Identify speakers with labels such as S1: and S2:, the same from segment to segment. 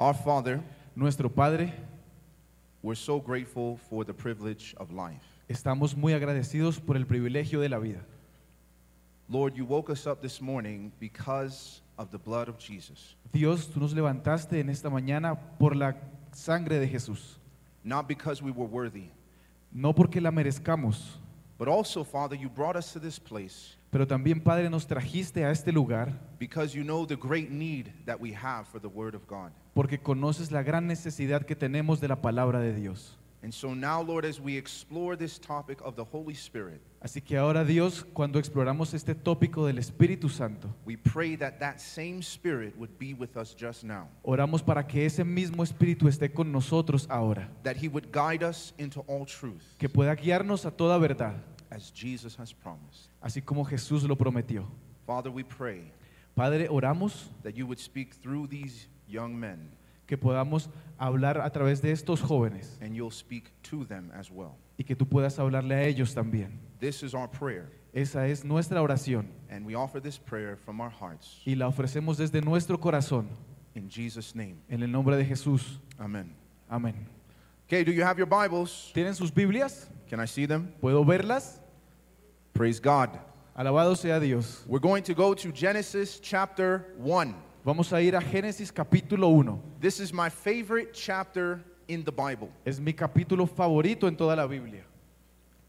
S1: Our Father,
S2: Nuestro Padre,
S1: we're so grateful for the privilege of life.
S2: estamos muy agradecidos por el privilegio de la vida.
S1: Lord, you woke us up this morning because of the blood of Jesus,
S2: Dios, tú nos levantaste en esta mañana por la sangre de Jesús,
S1: not because we were worthy,
S2: no porque la merezcamos,
S1: but also, Father, you brought us to this place
S2: pero también, Padre, nos trajiste a este lugar
S1: because you know the great need that we have for the Word of God.
S2: porque conoces la gran necesidad que tenemos de la palabra de Dios.
S1: And so now, Lord, as we explore this topic of the Holy Spirit,
S2: Así que ahora, Dios, cuando exploramos este tópico del Espíritu Santo,
S1: we pray that that same Spirit would be with us just now,
S2: oramos para que ese mismo Espíritu esté con nosotros ahora,
S1: that He would guide us into all truth,
S2: que pueda guiarnos a toda verdad,
S1: as Jesus has promised.
S2: así como Jesús lo prometió.
S1: Father, we pray
S2: Padre, oramos
S1: that you would speak through these young men
S2: que podamos hablar a través de estos jóvenes
S1: and you'll speak to them as well.
S2: y que tú puedas hablarle a ellos también.
S1: This is our prayer,
S2: Esa es nuestra oración
S1: and we offer this prayer from our hearts.
S2: y la ofrecemos desde nuestro corazón,
S1: In Jesus' name,
S2: en el nombre de Jesús.
S1: amen.
S2: Amén.
S1: Okay, do you have your Bibles?
S2: ¿Tienen sus Biblias?
S1: Can I see them?
S2: ¿Puedo verlas?
S1: Praise God.
S2: Alabado sea Dios.
S1: We're going to go to Genesis chapter 1.
S2: Vamos a ir a Génesis capítulo 1.
S1: This is my favorite chapter in the Bible.
S2: Es mi capítulo favorito en toda la Biblia.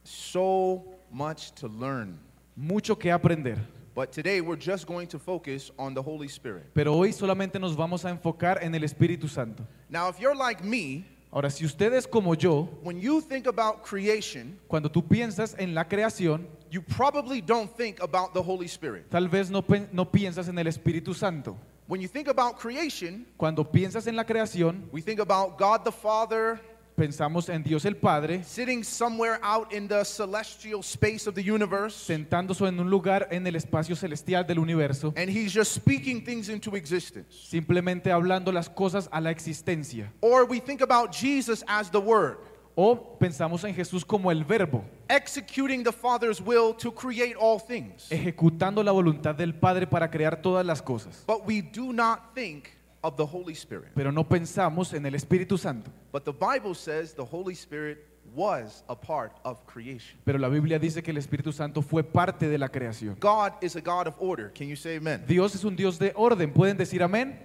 S1: So much to learn.
S2: Mucho que aprender.
S1: But today we're just going to focus on the Holy Spirit.
S2: Pero hoy solamente nos vamos a enfocar en el Espíritu Santo.
S1: Now, if you're like me,
S2: Ahora, si ustedes como yo,
S1: when you think about creation,
S2: cuando tú piensas en la creación,
S1: you probably don't think about the Holy Spirit.
S2: Tal vez no, pen- no piensas en el Espíritu Santo.
S1: When you think about creation,
S2: Cuando piensas en la creación,
S1: we think about God the Father
S2: pensamos en Dios el Padre
S1: sitting somewhere out in the celestial space of the universe,
S2: sentándose en un lugar en el espacio celestial del universo,
S1: and He's just speaking things into existence.
S2: simplemente hablando las cosas a la existencia.
S1: Or we think about Jesus as the Word,
S2: O pensamos en Jesús como el verbo,
S1: executing the Father's will to create all things.
S2: ejecutando la voluntad del Padre para crear todas las cosas.
S1: But we do not think of the Holy Spirit.
S2: Pero no pensamos en el Espíritu Santo.
S1: But the Bible says the Holy Spirit was a part of creation.
S2: Pero la Biblia dice que el Espíritu Santo fue parte de la creación.
S1: God is a God of order. Can you say amen?
S2: Dios es un Dios de orden. ¿Pueden decir amén?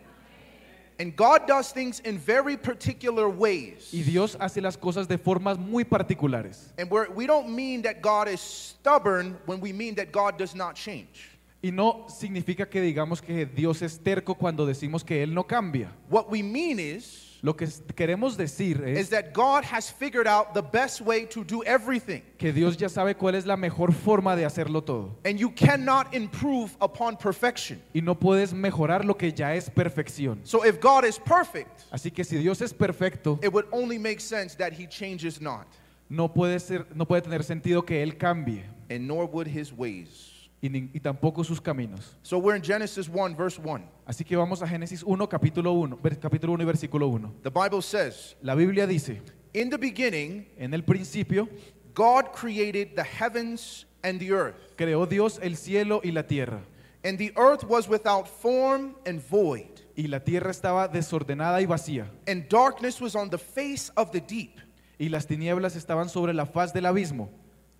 S1: And God does things in very particular
S2: Y
S1: ways.
S2: Dios hace las cosas de formas muy particulares.
S1: And we're, we don't mean that God is stubborn when we mean that God does not change.
S2: Y no significa que digamos que Dios es terco cuando decimos que Él no cambia.
S1: What we mean is,
S2: Lo que es- queremos decir
S1: is
S2: es
S1: that God has figured out the best way to do everything.
S2: que Dios ya sabe cuál es la mejor forma de hacerlo todo.
S1: And you cannot improve upon perfection.
S2: Y no puedes mejorar lo que ya es perfección.
S1: So if God is perfect,
S2: Así que si Dios es perfecto,
S1: it would only make sense that he changes not,
S2: no puede, ser, no puede tener sentido que Él cambie
S1: and nor would his ways.
S2: y, ni- y tampoco sus caminos.
S1: So we're in Genesis 1, verse 1.
S2: Así que vamos a Génesis 1, capítulo 1, ver- capítulo 1 y versículo 1.
S1: The Bible says,
S2: La Biblia dice,
S1: In the beginning,
S2: en el principio
S1: God created the heavens and the earth.
S2: creó Dios el cielo y la tierra.
S1: And the earth was without form and void,
S2: Y la tierra estaba desordenada y vacía,
S1: and darkness was on the face of the deep.
S2: y las tinieblas estaban sobre la faz del abismo,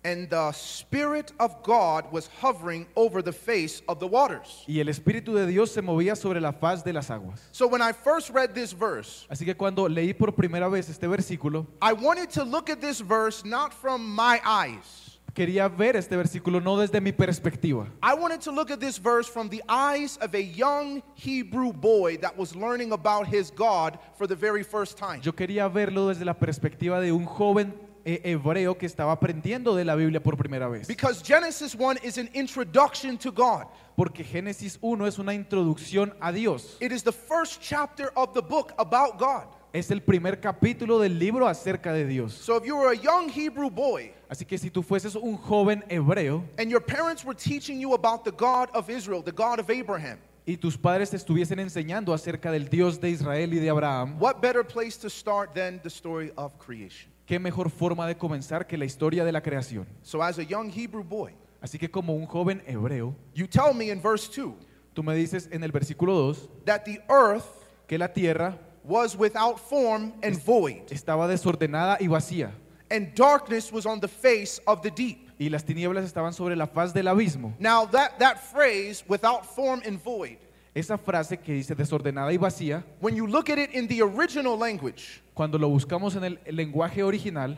S1: And the Spirit of God was hovering over the face of the waters.
S2: y el Espíritu de Dios se movía sobre la faz de las aguas.
S1: So when I first read this verse,
S2: Así que cuando leí por primera vez este versículo,
S1: I wanted to look at this verse not from my eyes.
S2: quería ver este versículo no desde mi perspectiva,
S1: I wanted to look at this verse from the eyes of a young Hebrew boy that was learning about his God for the very first time.
S2: yo quería verlo desde la perspectiva de un joven eh, hebreo que estaba aprendiendo de la Biblia por primera vez.
S1: Because Genesis 1 is an introduction to God.
S2: Porque Génesis 1 es una introducción a Dios.
S1: It is the first chapter of the book about God.
S2: Es el primer capítulo del libro acerca de Dios.
S1: So if you were a young Hebrew boy
S2: Así que si tú fueses un joven hebreo,
S1: and your parents were teaching you about the God of Israel, the God of Abraham,
S2: y tus padres te estuviesen enseñando acerca del Dios de Israel y de Abraham,
S1: what better place to start than the story of creation?
S2: qué mejor forma de comenzar que la historia de la creación.
S1: So as a young Hebrew boy,
S2: Así que como un joven hebreo,
S1: you tell me in verse 2
S2: tú me dices en el versículo 2
S1: that the earth
S2: que la tierra
S1: was without form and void,
S2: estaba desordenada y vacía,
S1: and darkness was on the face of the deep.
S2: y las tinieblas estaban sobre la faz del abismo.
S1: Now, that, that phrase, without form and void,
S2: Esa frase que dice desordenada y vacía,
S1: when you look at it in the original language,
S2: cuando lo buscamos en el lenguaje original,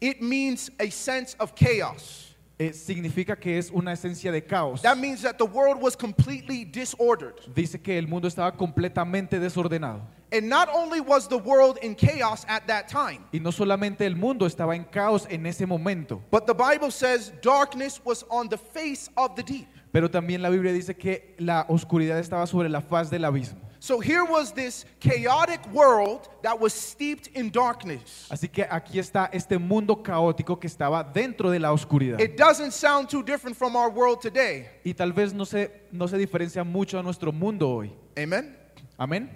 S1: it means a sense of chaos.
S2: eh, significa que es una esencia de caos.
S1: That means that the world was completely disordered.
S2: Dice que el mundo estaba completamente desordenado.
S1: And not only was the world in chaos at that time,
S2: Y no solamente el mundo estaba en caos en ese momento,
S1: but the Bible says darkness was on the face of the deep.
S2: pero también la Biblia dice que la oscuridad estaba sobre la faz del abismo.
S1: So here was this chaotic world that was steeped in darkness.
S2: Así que aquí está este mundo caótico que estaba dentro de la oscuridad.
S1: It doesn't sound too different from our world today.
S2: Y tal vez no se, no se diferencia mucho a nuestro mundo hoy.
S1: Amen.
S2: Amén.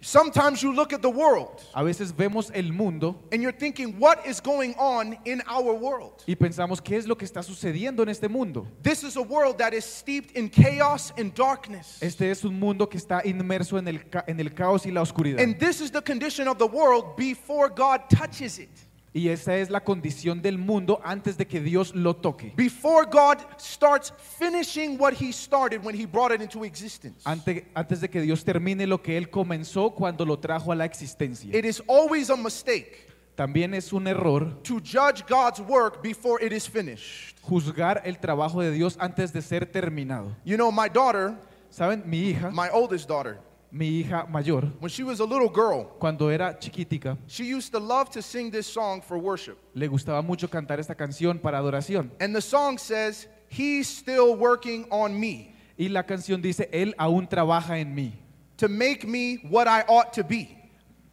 S1: Sometimes you look at the world
S2: A veces vemos el mundo
S1: and you're thinking, what is going on in our world?
S2: y pensamos qué es lo que está sucediendo en este mundo.
S1: This is a world that is steeped in chaos and darkness.
S2: Este es un mundo que está inmerso en el, ca- en el caos y la oscuridad.
S1: And this is the condition of the world before God touches it.
S2: Y esa es la condición del mundo antes de que Dios lo toque.
S1: Before God starts finishing what he started when he brought it into existence.
S2: Ante- antes de que Dios termine lo que Él comenzó cuando lo trajo a la existencia.
S1: It is always a mistake
S2: También es un error
S1: to judge God's work before it is finished.
S2: juzgar el trabajo de Dios antes de ser terminado.
S1: You know, my daughter,
S2: Saben, mi hija,
S1: my oldest daughter,
S2: mi hija mayor,
S1: when she was a little girl,
S2: cuando era chiquitica,
S1: she used to love to sing this song for worship.
S2: le gustaba mucho cantar esta canción para adoración.
S1: And the song says, He's still working on me
S2: Y la canción dice, Él aún trabaja en mí
S1: to make me what I ought to be.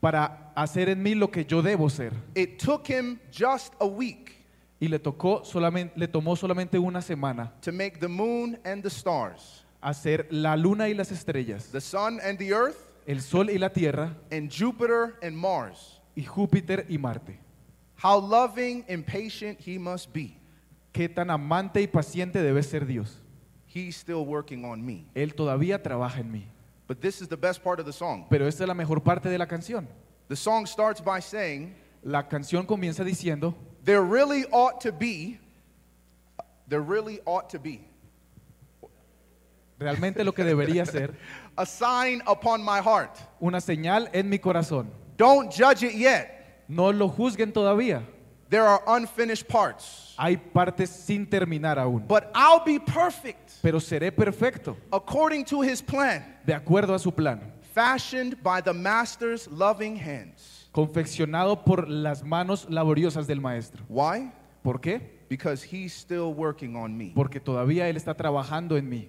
S2: para hacer en mí lo que yo debo ser.
S1: It took him just a week
S2: Y le, tocó solamente, le tomó solamente una semana
S1: to make the moon and the stars,
S2: hacer la luna y las estrellas,
S1: the sun and the earth,
S2: el sol y la tierra,
S1: and Jupiter and Mars.
S2: y Júpiter y Marte.
S1: How loving and patient he must be.
S2: Qué tan amante y paciente debe ser Dios.
S1: He's still working on me.
S2: Él todavía trabaja en mí.
S1: But this is the best part of the song.
S2: Pero esta es la mejor parte de la canción.
S1: The song starts by saying,
S2: La canción comienza diciendo,
S1: There really ought to be, there really ought to be
S2: realmente lo que debería ser,
S1: a sign upon my heart.
S2: una señal en mi corazón.
S1: Don't judge it yet.
S2: No lo juzguen todavía.
S1: There are unfinished parts.
S2: Hay partes sin terminar aún.
S1: But I'll be perfect
S2: Pero seré perfecto,
S1: according to his plan,
S2: de acuerdo a su plan,
S1: fashioned by the master's loving hands.
S2: confeccionado por las manos laboriosas del Maestro.
S1: Why?
S2: ¿Por qué?
S1: Because he's still working on me.
S2: Porque todavía Él está trabajando en mí.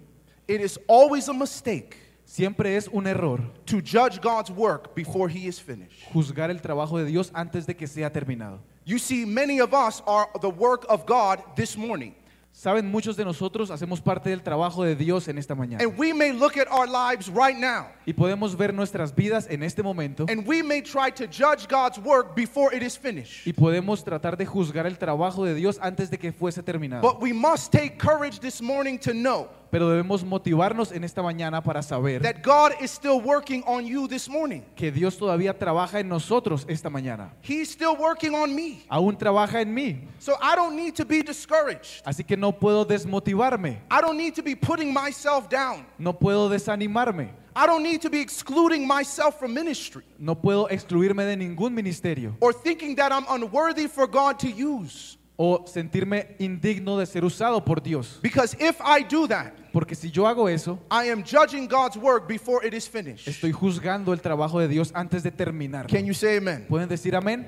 S1: It is always a mistake
S2: Siempre es un error
S1: to judge God's work before he is finished.
S2: juzgar el trabajo de Dios antes de que sea terminado.
S1: You see, many of us are the work of God this morning.
S2: Saben, muchos de nosotros hacemos parte del trabajo de Dios en esta mañana.
S1: And we may look at our lives right now
S2: Y podemos ver nuestras vidas en este momento
S1: and we may try to judge God's work before it is finished.
S2: y podemos tratar de juzgar el trabajo de Dios antes de que fuese terminado.
S1: But we must take courage this morning to know
S2: Pero debemos motivarnos en esta mañana para saber
S1: that God is still working on you this morning.
S2: que Dios todavía trabaja en nosotros esta mañana.
S1: He's still working on me.
S2: Aún trabaja en mí.
S1: So I don't need to be discouraged.
S2: Así que no puedo desmotivarme.
S1: I don't need to be putting myself down.
S2: No puedo desanimarme.
S1: I don't need to be excluding myself from ministry.
S2: No puedo excluirme de ningún ministerio
S1: or thinking that I'm unworthy for God to use.
S2: o sentirme indigno de ser usado por Dios.
S1: Because if I do that,
S2: Porque si yo hago eso,
S1: I am judging God's work before it is finished.
S2: estoy juzgando el trabajo de Dios antes de terminar.
S1: Can you say amen?
S2: ¿Pueden decir amén?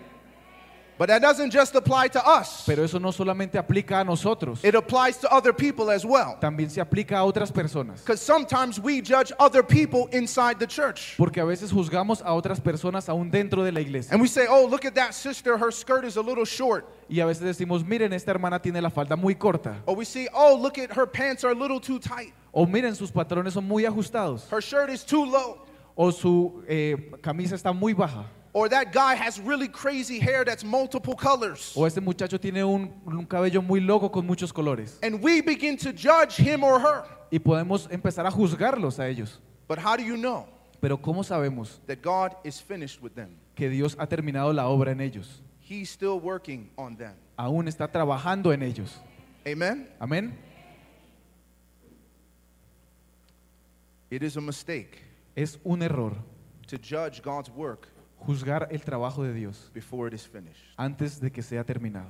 S1: But that doesn't just apply to us,
S2: Pero eso no solamente aplica a nosotros,
S1: it applies to other people as well.
S2: también se aplica a otras personas.
S1: Because sometimes we judge other people inside the church.
S2: Porque a veces juzgamos a otras personas aún dentro de la iglesia.
S1: And we say, oh, look at that sister, her skirt is a little short.
S2: Y a veces decimos, miren, esta hermana tiene la falda muy corta.
S1: Or we see, oh, look at her pants are a little too tight.
S2: O miren, sus patrones son muy ajustados.
S1: Her shirt is too low.
S2: O su eh, camisa está muy baja.
S1: Or that guy has really crazy hair that's multiple colors.
S2: O este muchacho tiene un, un cabello muy loco con muchos colores.
S1: And we begin to judge him or her.
S2: Y podemos empezar a juzgarlos a ellos.
S1: But how do you know?
S2: Pero ¿cómo sabemos
S1: that God is finished with them?
S2: que Dios ha terminado la obra en ellos?
S1: He's still working on them.
S2: Aún está trabajando en ellos.
S1: Amen?
S2: Amén.
S1: It is a mistake
S2: Es un error
S1: to judge God's work
S2: juzgar el trabajo de Dios
S1: before it is finished.
S2: antes de que sea terminado.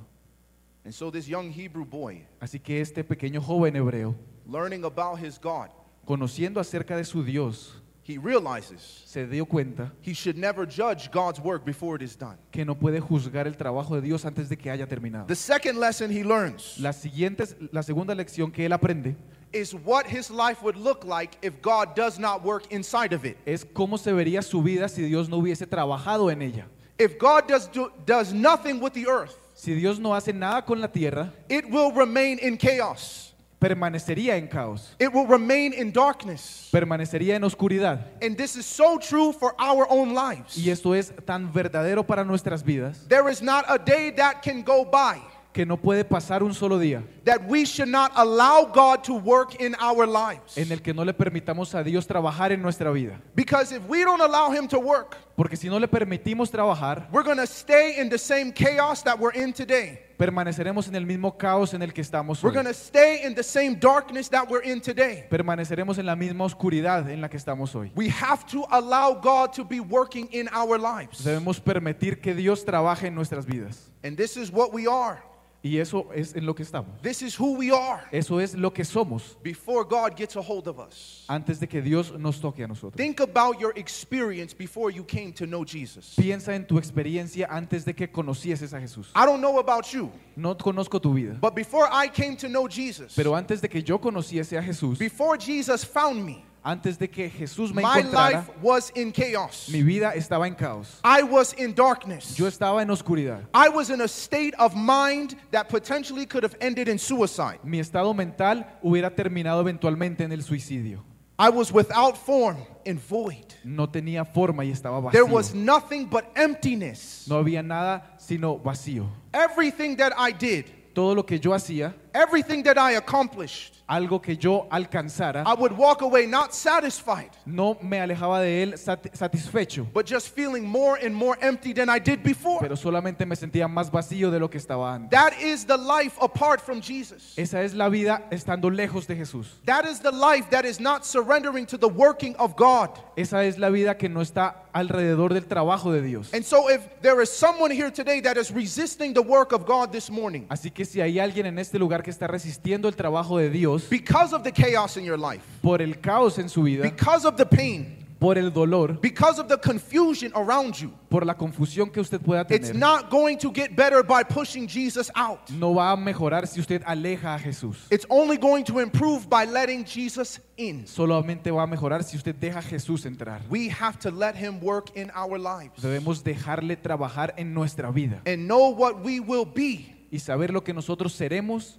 S1: And so this young Hebrew boy,
S2: Así que este pequeño joven hebreo,
S1: learning about his God,
S2: conociendo acerca de su Dios,
S1: he realizes
S2: se dio cuenta
S1: he should never judge God's work before it is done.
S2: que no puede juzgar el trabajo de Dios antes de que haya terminado.
S1: The second lesson he learns
S2: La, siguiente, es- la segunda lección que él aprende
S1: is what his life would look like if God does not work inside of it.
S2: es cómo se vería su vida si Dios no hubiese trabajado en ella.
S1: If God does, do, does nothing with the earth,
S2: Si Dios no hace nada con la tierra,
S1: it will remain in chaos,
S2: permanecería en caos,
S1: it will remain in darkness.
S2: permanecería en oscuridad.
S1: And this is so true for our own lives.
S2: Y esto es tan verdadero para nuestras vidas
S1: There is not a day that can go by
S2: que no puede pasar un solo día
S1: that we should not allow God to work in our lives.
S2: en el que no le permitamos a Dios trabajar en nuestra vida.
S1: Because if we don't allow Him to work,
S2: Porque si no le permitimos trabajar,
S1: we're going to stay in the same chaos that we're in today.
S2: permaneceremos en el mismo caos en el que estamos
S1: We're
S2: hoy.
S1: going to stay in the same darkness that we're in today.
S2: Permaneceremos en la misma oscuridad en la que estamos hoy.
S1: We have to allow God to be working in our lives.
S2: Debemos permitir que Dios trabaje en nuestras vidas.
S1: And this is what we are.
S2: Y eso es en lo que estamos.
S1: This is who we are
S2: Eso es lo que somos
S1: before God gets a hold of us.
S2: antes de que Dios nos toque a nosotros.
S1: Think about your experience before you came to know Jesus.
S2: Piensa en tu experiencia antes de que conocieses a Jesús.
S1: I don't know about you,
S2: No conozco tu vida,
S1: but before I came to know Jesus,
S2: pero antes de que yo conociese a Jesús,
S1: before Jesus found me,
S2: antes de que Jesús me
S1: my life
S2: encontrara,
S1: was in chaos.
S2: mi vida estaba en caos.
S1: I was in darkness.
S2: Yo estaba en oscuridad.
S1: I was in a state of mind that potentially could have ended in suicide.
S2: Mi estado mental hubiera terminado eventualmente en el suicidio.
S1: I was without form and void.
S2: No tenía forma y estaba
S1: There
S2: vacío.
S1: was nothing but emptiness.
S2: No había nada sino vacío.
S1: Everything that I did,
S2: Todo lo que yo hacía,
S1: everything that I accomplished,
S2: algo que yo alcanzara,
S1: I would walk away not satisfied,
S2: no me alejaba de él sat- satisfecho,
S1: but just feeling more and more empty than I did before.
S2: pero solamente me sentía más vacío de lo que estaba antes.
S1: That is the life apart from Jesus.
S2: Esa es la vida estando lejos de Jesús.
S1: That is the life that is not surrendering to the working of God.
S2: Esa es la vida que no está alrededor del trabajo de Dios.
S1: And so, if there is someone here today that is resisting the work of God this morning
S2: Así que si hay alguien en este lugar que está resistiendo el trabajo de Dios
S1: because of the chaos in your life,
S2: por el caos en su vida,
S1: because of the pain,
S2: por el dolor,
S1: because of the confusion around you,
S2: por la confusión que usted pueda
S1: it's
S2: tener,
S1: not going to get better by pushing Jesus out.
S2: no va a mejorar si usted aleja a Jesús.
S1: It's only going to improve by letting Jesus in.
S2: Solamente va a mejorar si usted deja a Jesús entrar.
S1: We have to let him work in our lives
S2: Debemos dejarle trabajar en nuestra vida
S1: and know what we will be
S2: y saber lo que nosotros seremos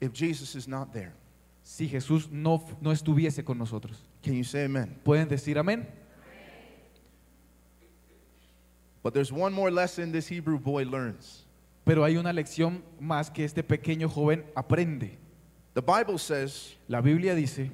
S1: if Jesus is not there.
S2: si Jesús no, no estuviese con nosotros.
S1: Can you say amen?
S2: ¿Pueden decir amén?
S1: But there's one more lesson this Hebrew boy learns.
S2: Pero hay una lección más que este pequeño joven aprende.
S1: The Bible says,
S2: La Biblia dice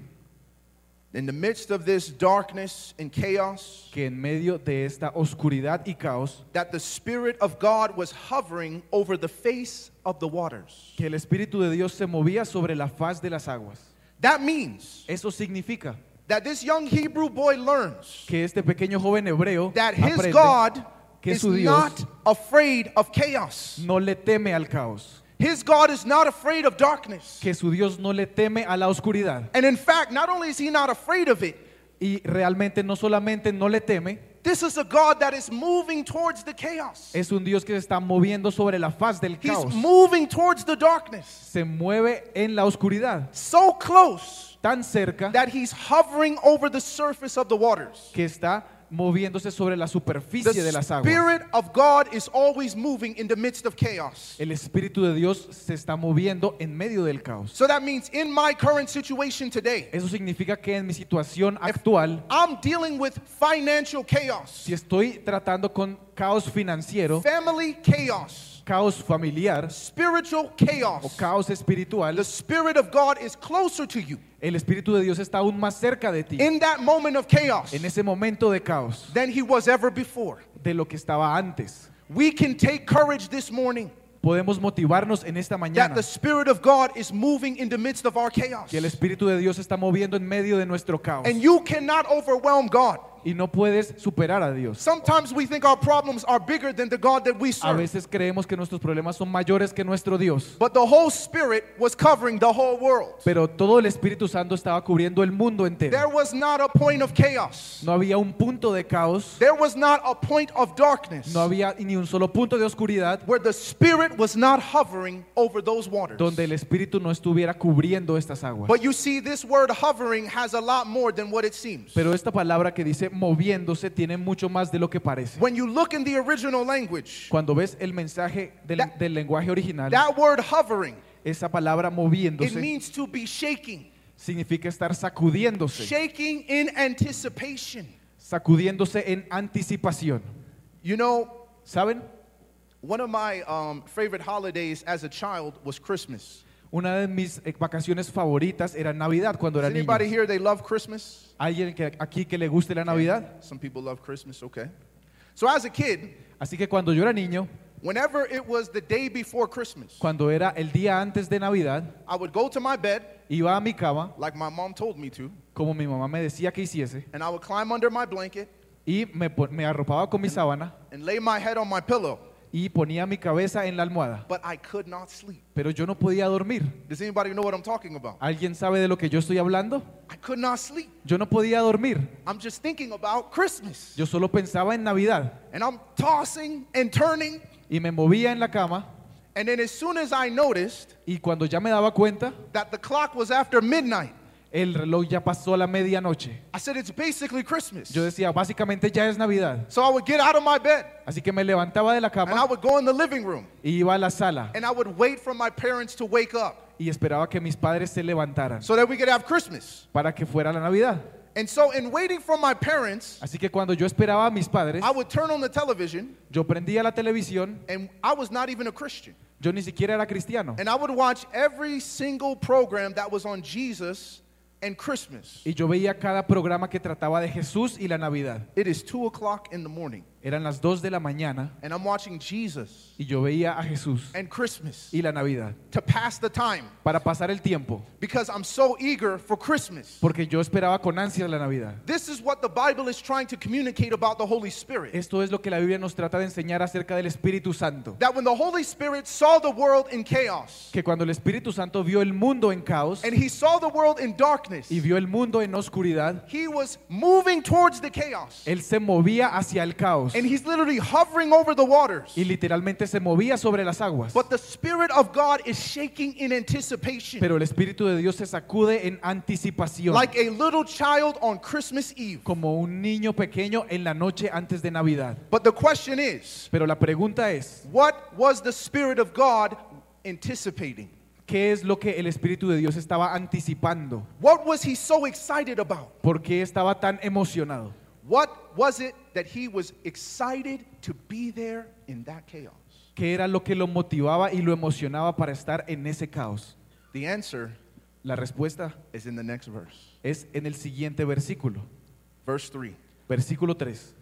S1: in the midst of this darkness and chaos,
S2: que en medio de esta oscuridad y caos,
S1: that the Spirit of God was hovering over the face of the waters.
S2: que el Espíritu de Dios se movía sobre la faz de las aguas.
S1: That means
S2: Eso significa
S1: that this young Hebrew boy learns
S2: que este pequeño joven hebreo
S1: that his
S2: aprende
S1: God
S2: que
S1: is
S2: su Dios
S1: not afraid of chaos.
S2: no le teme al caos,
S1: His God is not afraid of darkness.
S2: que su Dios no le teme a la oscuridad.
S1: And in fact, not only is he not afraid of it,
S2: Y realmente no solamente no le teme,
S1: this is a God that is moving towards the chaos.
S2: es un Dios que se está moviendo sobre la faz del
S1: He's
S2: caos.
S1: moving towards the darkness.
S2: Se mueve en la oscuridad,
S1: So close
S2: tan cerca
S1: that he's hovering over the surface of the waters.
S2: que está moviéndose sobre la
S1: The
S2: superficie de las aguas.
S1: Spirit of God is always moving in the midst of chaos.
S2: El Espíritu de Dios se está moviendo en medio del caos.
S1: So that means in my current situation today,
S2: Eso significa que en mi situación actual,
S1: I'm dealing with financial chaos,
S2: si estoy tratando con caos financiero,
S1: family chaos,
S2: caos familiar
S1: spiritual
S2: o
S1: chaos.
S2: caos espiritual,
S1: The Spirit of God is closer to you
S2: el Espíritu de Dios está aún más cerca de ti
S1: in that moment of chaos
S2: en ese momento de caos
S1: than he was ever before.
S2: de lo que estaba antes.
S1: We can take courage this morning
S2: Podemos motivarnos en esta
S1: that
S2: mañana
S1: the Spirit of God is moving in the midst of our chaos.
S2: que el Espíritu de Dios está moviendo en medio de nuestro caos
S1: And you cannot overwhelm God.
S2: y no puedes superar a Dios.
S1: Sometimes we think our problems are bigger than the God that we
S2: A
S1: serve.
S2: veces creemos que nuestros problemas son mayores que nuestro Dios,
S1: But the whole Spirit was covering the whole world.
S2: pero todo el Espíritu Santo estaba cubriendo el mundo entero.
S1: There was not a point of chaos.
S2: No había un punto de caos,
S1: There was not a point of darkness
S2: no había ni un solo punto de oscuridad
S1: where the Spirit was not hovering over those waters.
S2: donde el Espíritu no estuviera cubriendo estas aguas.
S1: But you see, this word hovering has a lot more than what it seems.
S2: Pero esta palabra que dice moviéndose tiene mucho más de lo que parece.
S1: When you look in the original language,
S2: Cuando ves el mensaje del,
S1: That-
S2: del lenguaje original,
S1: that word hovering,
S2: esa palabra
S1: it
S2: moviéndose
S1: means to be shaking,
S2: significa estar sacudiéndose,
S1: shaking in anticipation.
S2: sacudiéndose en anticipación.
S1: You know,
S2: ¿Saben?
S1: one of my um, favorite holidays as a child was Christmas.
S2: Una de mis eh, vacaciones favoritas era Navidad cuando
S1: Is
S2: era niño.
S1: anybody here they love Christmas?
S2: ¿Alguien que, aquí que le guste la Navidad?
S1: Some people love Christmas, okay. So as a kid,
S2: Así que cuando yo era niño,
S1: whenever it was the day before Christmas,
S2: cuando era el día antes de Navidad,
S1: I would go to my bed
S2: iba a mi cama,
S1: like my mom told me to,
S2: como mi mamá me decía que hiciese,
S1: and I would climb under my blanket
S2: y me, pon- me arropaba con mi sábana
S1: and lay my head on my pillow,
S2: y ponía mi cabeza en la almohada.
S1: but I could not sleep.
S2: Pero yo no podía dormir.
S1: Does anybody know what I'm talking about?
S2: ¿Alguien sabe de lo que yo estoy hablando?
S1: I could not sleep.
S2: Yo no podía dormir.
S1: I'm just thinking about Christmas.
S2: Yo solo pensaba en Navidad
S1: And I'm tossing and turning,
S2: y me movía en la cama
S1: and then as soon as I noticed
S2: y cuando ya me daba cuenta,
S1: that the clock was after midnight,
S2: el reloj ya pasó la medianoche.
S1: I said it's basically Christmas.
S2: Yo decía, básicamente ya es Navidad.
S1: So I would get out of my bed
S2: Así que me levantaba de
S1: and
S2: la
S1: I
S2: cama
S1: would go in the living room.
S2: y iba a la sala
S1: and I would wait for my parents to wake up
S2: y esperaba que mis padres se levantaran
S1: so that we could have Christmas.
S2: para que fuera la Navidad.
S1: And so, in waiting for my parents,
S2: Así que cuando yo esperaba a mis padres,
S1: I would turn on the television,
S2: yo prendía la televisión,
S1: and I was not even a Christian.
S2: yo ni siquiera era cristiano,
S1: And I would watch every single program that was on Jesus and Christmas.
S2: y yo veía cada programa que trataba de Jesús y la Navidad.
S1: It is two o'clock in the morning,
S2: Eran las 2 de la mañana
S1: and I'm watching Jesus
S2: y yo veía a Jesús
S1: and Christmas
S2: y la Navidad
S1: to pass the time
S2: para pasar el tiempo,
S1: because I'm so eager for Christmas.
S2: porque yo esperaba con ansias la Navidad.
S1: This is what the Bible is trying to communicate about the Holy Spirit.
S2: Esto es lo que la Biblia nos trata de enseñar acerca del Espíritu Santo.
S1: That when the Holy Spirit saw the world in chaos,
S2: Que cuando el Espíritu Santo vio el mundo en caos
S1: and he saw the world in darkness,
S2: y vio el mundo en oscuridad,
S1: He was moving towards the chaos.
S2: Él se movía hacia el caos
S1: And he's literally hovering over the waters.
S2: y literalmente se movía sobre las aguas.
S1: But the Spirit of God is shaking in anticipation,
S2: Pero el Espíritu de Dios se sacude en anticipación,
S1: like a little child on Christmas Eve.
S2: como un niño pequeño en la noche antes de Navidad.
S1: But the question is
S2: Pero la pregunta es,
S1: what was the Spirit of God anticipating?
S2: ¿qué es lo que el Espíritu de Dios estaba anticipando?
S1: What was he so excited about?
S2: ¿Por qué estaba tan emocionado?
S1: What was it that he was excited to be there in that chaos?
S2: ¿Qué era lo que lo motivaba y lo emocionaba para estar en ese caos?
S1: The answer
S2: La respuesta
S1: is in the next verse,
S2: es en el siguiente versículo,
S1: verse 3.
S2: versículo 3.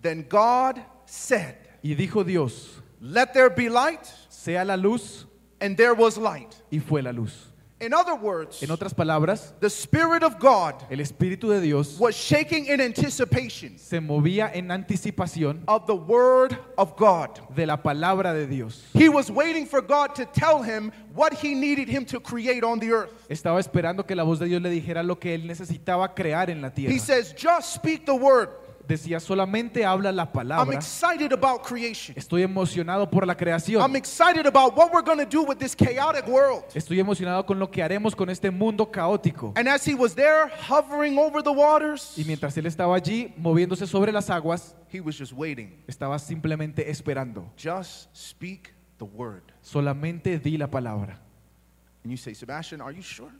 S1: Then God said,
S2: Y dijo Dios,
S1: Let there be light.
S2: sea la luz,
S1: and there was light.
S2: y fue la luz.
S1: In other words,
S2: En otras palabras,
S1: the Spirit of God
S2: el Espíritu de Dios
S1: was shaking in anticipation
S2: se movía en anticipación
S1: of the Word of God.
S2: de la palabra de Dios.
S1: He was waiting for God to tell him what he needed him to create on the earth.
S2: Estaba esperando que la voz de Dios le dijera lo que él necesitaba crear en la
S1: He
S2: tierra.
S1: says, Just speak the word.
S2: Decía, solamente habla la
S1: I'm
S2: palabra.
S1: excited about creation.
S2: Estoy emocionado por la
S1: I'm
S2: creación.
S1: excited about what we're going to do with this chaotic world.
S2: Estoy emocionado con lo que haremos con este mundo caótico.
S1: And as he was there hovering over the waters,
S2: Y mientras él estaba allí, moviéndose sobre las aguas,
S1: he was just waiting.
S2: estaba simplemente esperando.
S1: Just speak the word.
S2: Solamente di la palabra.
S1: And you say, Sebastian, are you sure?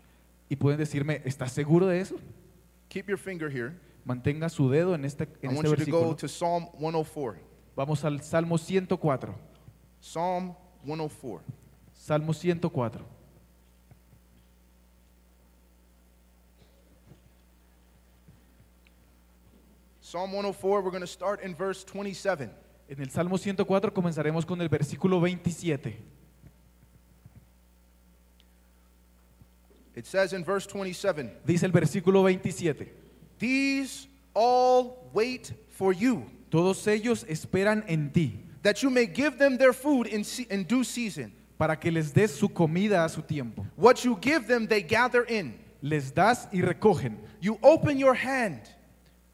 S2: Y pueden decirme, ¿estás seguro de eso?
S1: Keep your finger here.
S2: Mantenga su dedo en este,
S1: I
S2: en
S1: want you
S2: este
S1: to oh go
S2: versículo.
S1: to Psalm 104.
S2: Vamos al Salmo 104.
S1: Psalm 104.
S2: Salmo 104.
S1: Psalm 104, we're going to start in verse 27.
S2: En el Salmo 104 comenzaremos con el versículo 27.
S1: It says in verse 27,
S2: Dice el versículo 27.
S1: These all wait for you,
S2: Todos ellos esperan en ti
S1: that you may give them their food in, se- in due season.
S2: para que les des su comida a su tiempo.
S1: What you give them, they gather in.
S2: Les das y recogen.
S1: You open your hand,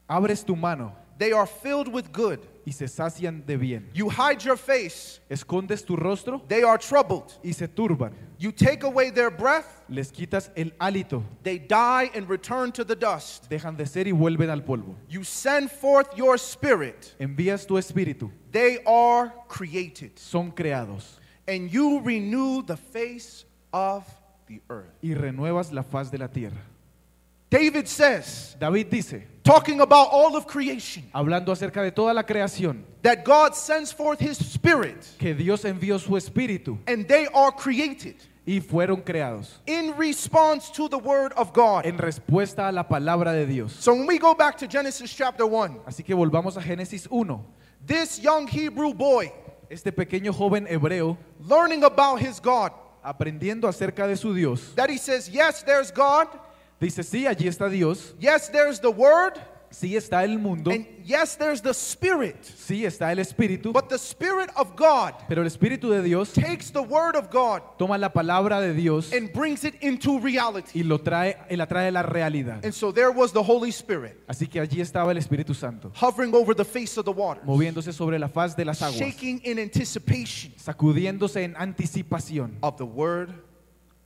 S2: Abres tu mano
S1: they are filled with good.
S2: y se sacian de bien.
S1: You hide your face,
S2: Escondes tu rostro
S1: they are troubled.
S2: y se turban.
S1: You take away their breath,
S2: Les quitas el hálito,
S1: they die and return to the dust.
S2: dejan de ser y vuelven al polvo.
S1: You send forth your spirit,
S2: Envías tu espíritu,
S1: they are created,
S2: son creados
S1: and you renew the face of the earth.
S2: y renuevas la faz de la tierra.
S1: David says,
S2: David dice,
S1: talking about all of creation,
S2: hablando acerca de toda la creación,
S1: that God sends forth his spirit
S2: que Dios envió su espíritu
S1: and they are created
S2: y fueron creados
S1: in response to the word of God.
S2: en respuesta a la palabra de Dios.
S1: So when we go back to Genesis chapter 1,
S2: Así que volvamos a Génesis 1.
S1: this young Hebrew boy
S2: Este pequeño joven hebreo
S1: learning about his God,
S2: aprendiendo acerca de su Dios
S1: that he says, Yes, there's God,
S2: dice, sí, allí está Dios,
S1: yes, there's the word,
S2: sí está el mundo,
S1: and yes, there's the spirit.
S2: sí está el espíritu,
S1: But the spirit of God
S2: pero el espíritu de Dios
S1: takes the word of God
S2: toma la palabra de Dios
S1: and brings it into reality.
S2: y lo trae, y la trae a la realidad.
S1: And so there was the Holy Spirit
S2: Así que allí estaba el Espíritu Santo,
S1: hovering over the face of the water.
S2: moviéndose sobre la faz de las aguas,
S1: shaking in anticipation
S2: sacudiéndose en anticipación
S1: of the word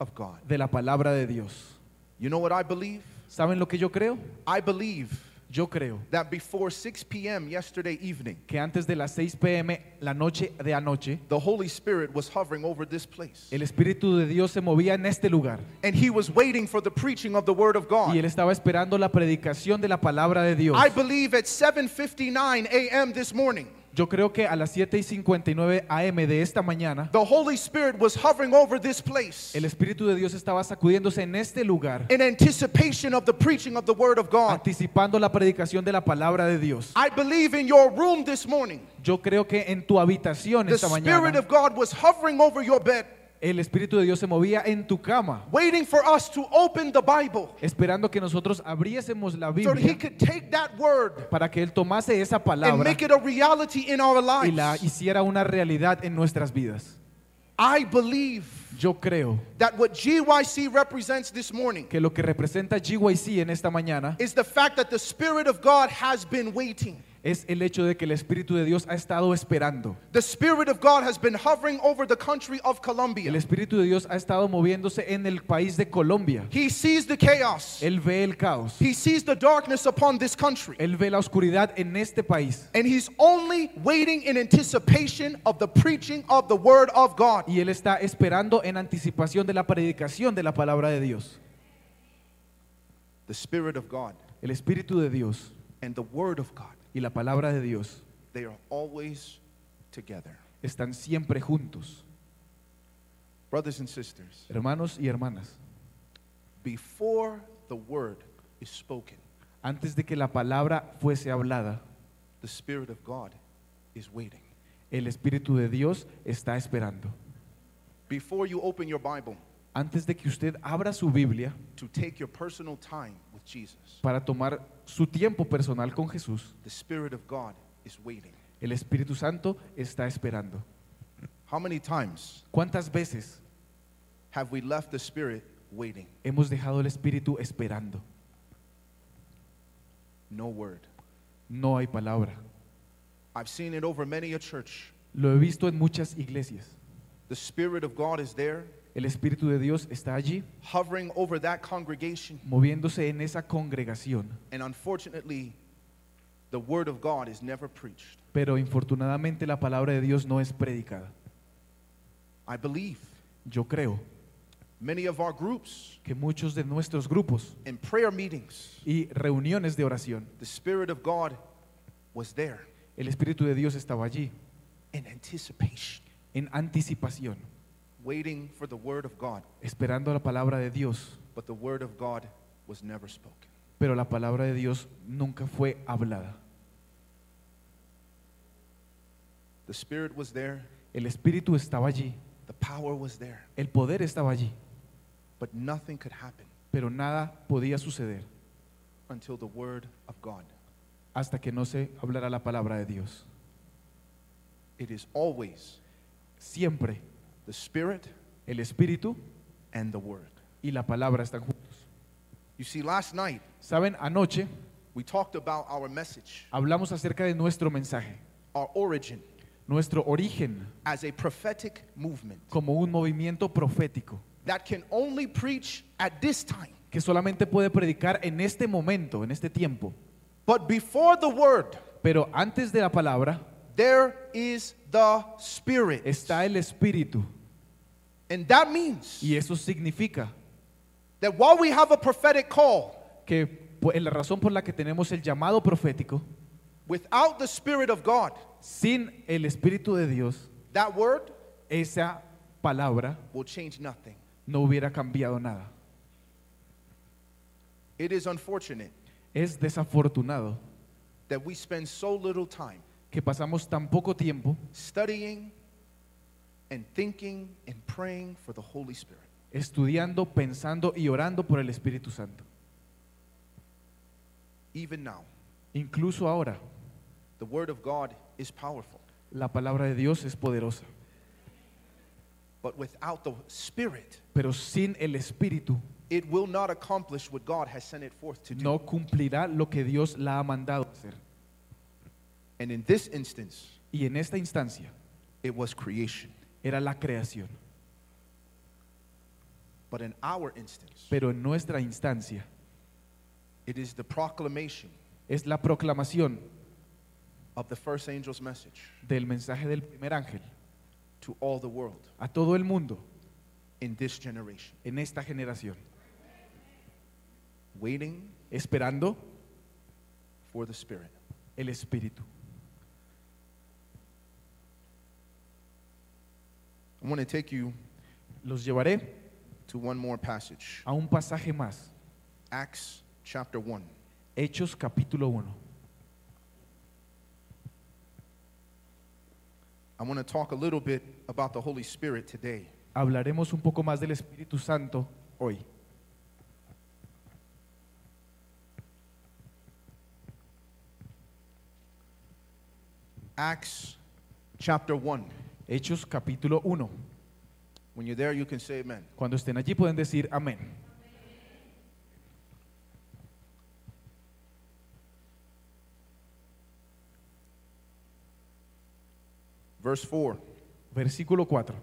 S1: of God.
S2: de la palabra de Dios.
S1: You know what I believe?
S2: ¿Saben lo que yo creo?
S1: I believe
S2: Yo creo
S1: that before 6 p.m. yesterday evening,
S2: que antes de las 6 pm, la noche de anoche,
S1: the Holy Spirit was hovering over this place.
S2: el Espíritu de Dios se movía en este lugar
S1: And he was waiting for the preaching of the word of God.
S2: y él estaba esperando la predicación de la palabra de Dios.
S1: I believe at 7:59 a.m. this morning,
S2: Yo creo que a las 7 y 59 am de esta mañana,
S1: the Holy Spirit was hovering over this place
S2: el Espíritu de Dios estaba sacudiéndose en este lugar,
S1: in anticipation of the preaching of the word of God.
S2: anticipando la predicación de la palabra de Dios.
S1: I believe in your room this morning,
S2: Yo creo que en tu habitación
S1: the
S2: esta
S1: Spirit
S2: mañana,
S1: of God was hovering over your bed,
S2: el Espíritu de Dios se movía en tu cama,
S1: waiting for us to open the Bible.
S2: esperando que nosotros abriésemos la
S1: so that he
S2: Biblia
S1: could take that word
S2: para que Él tomase esa
S1: and
S2: palabra
S1: make it a reality in our
S2: y la
S1: lives.
S2: hiciera una realidad en nuestras vidas.
S1: I believe
S2: Yo creo
S1: that what GYC represents this morning
S2: que lo que representa GYC en esta mañana
S1: is the fact that the Spirit of God has been waiting.
S2: es el hecho de que el Espíritu de Dios ha estado esperando.
S1: The Spirit of God has been hovering over the country of
S2: El
S1: Colombia.
S2: Espíritu de Dios ha estado moviéndose en el país de Colombia.
S1: He sees the chaos,
S2: Él ve el caos,
S1: he sees the darkness upon this country,
S2: Él ve la oscuridad en este país
S1: and he's only waiting in anticipation of the preaching of the Word of God.
S2: y Él está esperando en anticipación de la predicación de la palabra de Dios.
S1: The Spirit of God
S2: El Espíritu de Dios
S1: and the Word of God,
S2: y la palabra de Dios
S1: they are always together.
S2: están siempre juntos,
S1: Brothers and sisters,
S2: hermanos y hermanas.
S1: before the word is spoken,
S2: Antes de que la palabra fuese hablada,
S1: the Spirit of God is waiting.
S2: el Espíritu de Dios está esperando.
S1: Before you open your Bible
S2: Antes de que usted abra su Biblia
S1: to take your personal time with Jesus,
S2: para tomar su tiempo personal con Jesús,
S1: the Spirit of God is waiting.
S2: el Espíritu Santo está esperando.
S1: How many times
S2: ¿Cuántas veces
S1: have we left the Spirit waiting?
S2: hemos dejado el Espíritu esperando?
S1: No word.
S2: No hay palabra.
S1: I've seen it over many a church.
S2: Lo he visto en muchas iglesias.
S1: The Spirit of God is there,
S2: El Espíritu de Dios está allí,
S1: hovering over that congregation,
S2: moviéndose en esa congregación,
S1: and unfortunately, the word of God is never preached.
S2: pero infortunadamente la palabra de Dios no es predicada.
S1: I believe
S2: Yo creo
S1: many of our groups
S2: que muchos de nuestros grupos
S1: and prayer meetings
S2: y reuniones de oración,
S1: The Spirit of God was there
S2: el Espíritu de Dios estaba allí
S1: in anticipation
S2: en en anticipación,
S1: waiting for the word of God.
S2: esperando la palabra de Dios,
S1: But the word of God was never spoken.
S2: pero la palabra de Dios nunca fue hablada.
S1: The Spirit was there,
S2: El Espíritu estaba allí,
S1: the power was there,
S2: el poder estaba allí,
S1: but nothing could happen
S2: pero nada podía suceder
S1: until the word of God.
S2: hasta que no se hablara la palabra de Dios.
S1: It is always
S2: Siempre
S1: the Spirit
S2: el Espíritu
S1: and the word.
S2: y la palabra están juntos.
S1: You see, last night
S2: Saben, anoche
S1: we talked about our message,
S2: hablamos acerca de nuestro mensaje,
S1: our origin
S2: nuestro origen
S1: as a prophetic movement
S2: como un movimiento profético
S1: that can only preach at this time.
S2: que solamente puede predicar en este momento, en este tiempo.
S1: But before the word,
S2: Pero antes de la palabra
S1: there is the Spirit.
S2: está el Espíritu.
S1: And that means
S2: Y eso significa
S1: that while we have a prophetic call,
S2: que po- la razón por la que tenemos el llamado profético,
S1: without the Spirit of God,
S2: sin el Espíritu de Dios,
S1: that word
S2: esa palabra
S1: will change nothing.
S2: no hubiera cambiado nada.
S1: It is unfortunate
S2: Es desafortunado
S1: that we spend so little time
S2: que pasamos tan poco tiempo
S1: studying and thinking and praying for the Holy Spirit.
S2: estudiando, pensando y orando por el Espíritu Santo.
S1: Even now,
S2: Incluso ahora,
S1: the Word of God is powerful,
S2: la palabra de Dios es poderosa,
S1: but without the Spirit,
S2: pero sin el Espíritu
S1: it will not accomplish what God has sent it forth to do.
S2: no cumplirá lo que Dios la ha mandado hacer.
S1: And in this instance,
S2: Y en esta instancia
S1: it was creation.
S2: era la creación,
S1: But in our instance,
S2: pero en nuestra instancia
S1: it is the proclamation
S2: es la proclamación
S1: of the first angel's message
S2: del mensaje del primer ángel
S1: to all the world
S2: a todo el mundo
S1: in this generation,
S2: en esta generación,
S1: waiting
S2: esperando
S1: for the Spirit.
S2: el Espíritu.
S1: I want to take you
S2: Los llevaré
S1: to one more passage
S2: a un pasaje más,
S1: Acts chapter 1.
S2: Hechos capítulo 1.
S1: I want to talk a little bit about the Holy Spirit today.
S2: Hablaremos un poco más del Espíritu Santo hoy.
S1: Acts chapter 1.
S2: Hechos capítulo 1.
S1: When you're there, you can say amen.
S2: Cuando estén allí pueden decir amén.
S1: Verse 4.
S2: Versículo 4.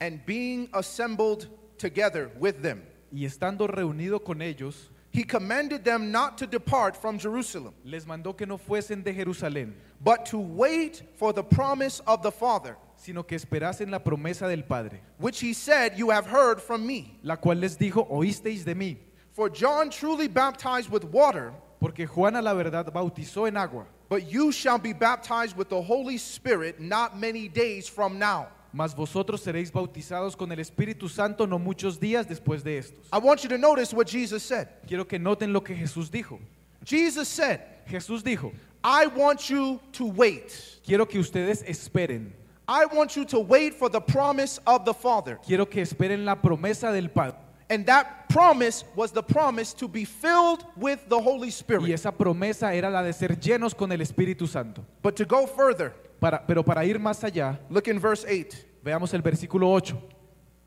S1: And being assembled together with them,
S2: Y estando reunido con ellos,
S1: he commanded them not to depart from Jerusalem,
S2: les mandó que no fuesen de Jerusalén,
S1: but to wait for the promise of the Father,
S2: sino que esperasen la promesa del Padre,
S1: which he said, You have heard from me.
S2: la cual les dijo, oísteis de mí,
S1: For John truly baptized with water,
S2: porque Juan a la verdad bautizó en agua,
S1: but you shall be baptized with the Holy Spirit not many days from now.
S2: mas vosotros seréis bautizados con el Espíritu Santo no muchos días después de estos.
S1: I want you to notice what Jesus said.
S2: Quiero que noten lo que Jesús dijo.
S1: Jesus said,
S2: Jesús dijo,
S1: I want you to wait.
S2: quiero que ustedes esperen,
S1: I want you to wait for the promise of the Father.
S2: quiero que esperen la promesa del Padre.
S1: And that promise was the promise to be filled with the Holy
S2: Y
S1: Spirit.
S2: esa promesa era la de ser llenos con el Espíritu Santo.
S1: But to go further,
S2: Para- pero para ir más allá,
S1: look in verse 8.
S2: veamos el versículo 8.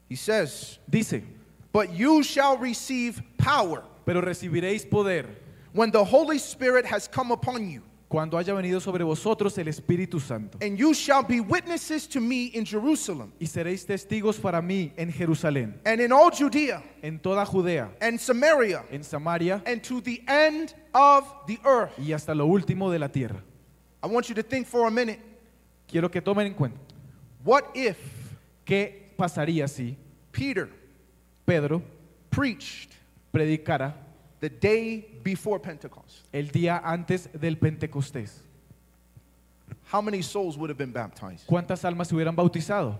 S1: He says,
S2: Dice,
S1: But you shall receive power
S2: pero recibiréis poder
S1: when the Holy Spirit has come upon you,
S2: cuando haya venido sobre vosotros el Espíritu Santo.
S1: and you shall be witnesses to me in Jerusalem
S2: Y seréis testigos para mí en Jerusalén,
S1: and in all Judea
S2: en toda Judea,
S1: and Samaria
S2: en Samaria
S1: and to the end of the earth.
S2: y hasta lo último de la tierra.
S1: I want you to think for a minute.
S2: Quiero que tomen en cuenta,
S1: What if
S2: ¿qué pasaría si
S1: Peter
S2: Pedro
S1: preached
S2: predicara
S1: the day before Pentecost?
S2: el día antes del Pentecostés?
S1: how many souls would have been baptized?
S2: ¿Cuántas almas se hubieran bautizado?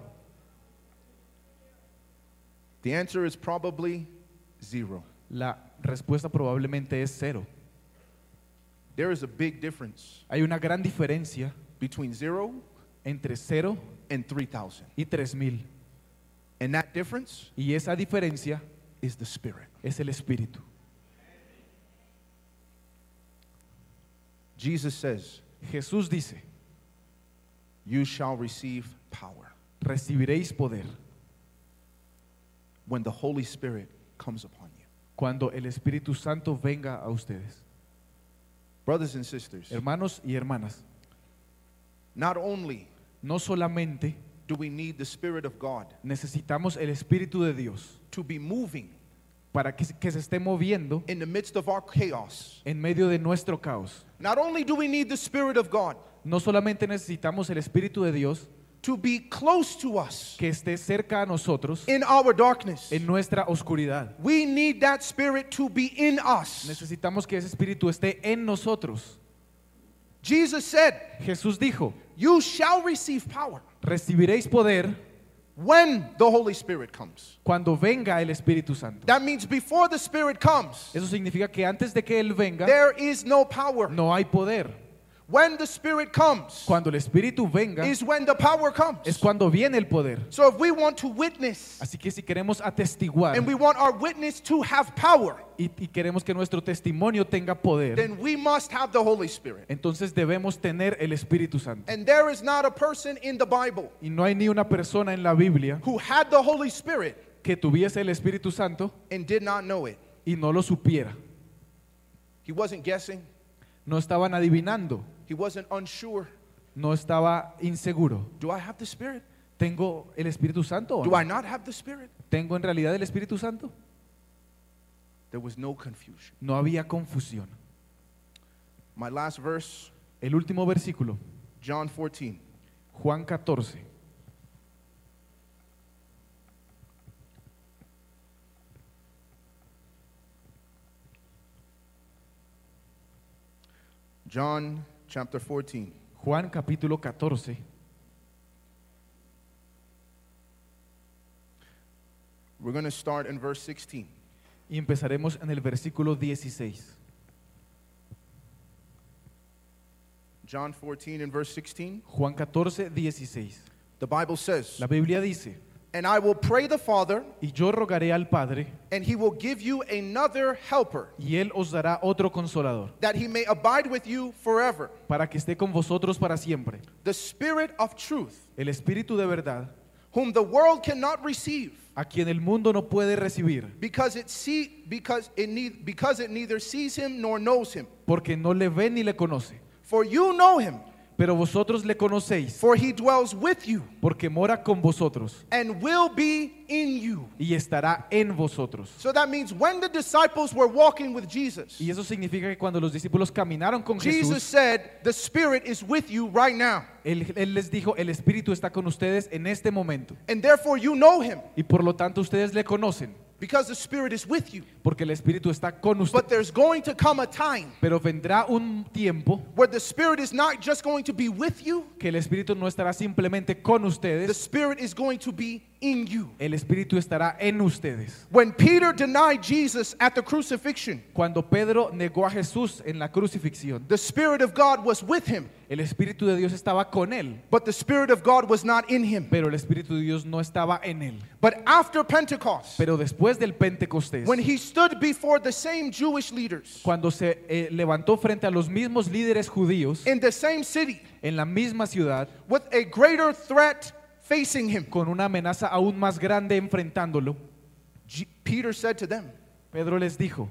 S1: The answer is probably zero.
S2: La respuesta probablemente es cero.
S1: There is a big difference
S2: Hay una gran diferencia
S1: between zero
S2: entre cero
S1: and 3,000.
S2: y tres mil.
S1: And that difference
S2: Y esa diferencia
S1: is the Spirit.
S2: es el Espíritu.
S1: Jesus says,
S2: Jesús dice,
S1: You shall receive power
S2: recibiréis poder
S1: when the Holy Spirit comes upon you.
S2: cuando el Espíritu Santo venga a ustedes.
S1: Brothers and sisters,
S2: Hermanos y hermanas,
S1: not only
S2: no solamente
S1: do we need the Spirit of God
S2: necesitamos el Espíritu de Dios
S1: to be moving
S2: para que, se- que se esté moviendo
S1: in the midst of our chaos,
S2: en medio de nuestro caos.
S1: not only do we need the Spirit of God
S2: No solamente necesitamos el Espíritu de Dios
S1: to be close to us
S2: que esté cerca a nosotros
S1: in our darkness,
S2: en nuestra oscuridad.
S1: we need that Spirit to be in us.
S2: Necesitamos que ese Espíritu esté en nosotros.
S1: Jesus said,
S2: Jesús dijo,
S1: You shall receive power
S2: recibiréis poder
S1: when the Holy Spirit comes.
S2: cuando venga el Espíritu Santo.
S1: That means before the Spirit comes,
S2: Eso significa que antes de que Él venga,
S1: there is no power.
S2: no hay poder.
S1: When the Spirit comes,
S2: Cuando el Espíritu venga,
S1: is when the power
S2: es
S1: comes.
S2: cuando viene el poder.
S1: So if we want to witness
S2: Así que si queremos atestiguar
S1: and we want our witness to have power,
S2: y, y queremos que nuestro testimonio tenga poder,
S1: then we must have the Holy Spirit.
S2: entonces debemos tener el Espíritu Santo.
S1: And there is not a person in the Bible
S2: Y no hay ni una persona en la Biblia
S1: who had the Holy Spirit
S2: que tuviese el Espíritu Santo
S1: and did not know it.
S2: y no lo supiera.
S1: He wasn't guessing,
S2: No estaban adivinando,
S1: he wasn't unsure.
S2: no estaba inseguro.
S1: Do I have the Spirit?
S2: ¿Tengo el Espíritu Santo o
S1: Do I
S2: no?
S1: not have the Spirit?
S2: ¿Tengo en realidad el Espíritu Santo?
S1: There was no confusion.
S2: No había confusión.
S1: My last verse,
S2: El último versículo,
S1: John 14.
S2: Juan 14.
S1: John chapter 14.
S2: Juan capítulo 14.
S1: We're going to start in verse 16.
S2: Y empezaremos en el versículo 16.
S1: John 14 and verse 16.
S2: Juan 14, 16.
S1: The Bible says,
S2: La Biblia dice,
S1: And I will pray the Father,
S2: y yo rogaré al Padre,
S1: and he will give you another helper,
S2: y Él os dará otro consolador,
S1: that he may abide with you forever.
S2: para que esté con vosotros para siempre.
S1: The Spirit of truth,
S2: El Espíritu de verdad,
S1: whom the world cannot receive,
S2: a quien el mundo no puede recibir,
S1: because it, see, because it, need, because it neither sees him nor knows him.
S2: porque no le ve ni le conoce.
S1: For you know him,
S2: Pero vosotros le conocéis,
S1: for he dwells with you
S2: porque mora con vosotros,
S1: and will be in you.
S2: y estará en vosotros.
S1: So that means when the disciples were walking with Jesus,
S2: Y eso significa que cuando los discípulos caminaron con
S1: Jesus
S2: Jesús,
S1: said, The Spirit is with you right now,
S2: él, Él les dijo, el Espíritu está con ustedes en este momento.
S1: and therefore you know him
S2: Y por lo tanto ustedes le conocen,
S1: because the Spirit is with you.
S2: porque el Espíritu está con
S1: But
S2: ustedes.
S1: there's going to come a time
S2: Pero vendrá un tiempo
S1: where the Spirit is not just going to be with you,
S2: que el Espíritu no estará simplemente con
S1: the
S2: ustedes,
S1: Spirit is going to be in you.
S2: el Espíritu estará en ustedes.
S1: When Peter denied Jesus at the crucifixion,
S2: Cuando Pedro negó a Jesús en la crucifixión,
S1: the Spirit of God was with him,
S2: el Espíritu de Dios estaba con él,
S1: but the Spirit of God was not in him.
S2: pero el Espíritu de Dios no estaba en él.
S1: But after Pentecost,
S2: Pero después del Pentecostés,
S1: when he stood before the same Jewish leaders
S2: cuando se eh, levantó frente a los mismos líderes judíos
S1: in the same city
S2: en la misma ciudad,
S1: with a greater threat facing him,
S2: con una amenaza aún más grande enfrentándolo,
S1: G- Peter said to them,
S2: Pedro les dijo,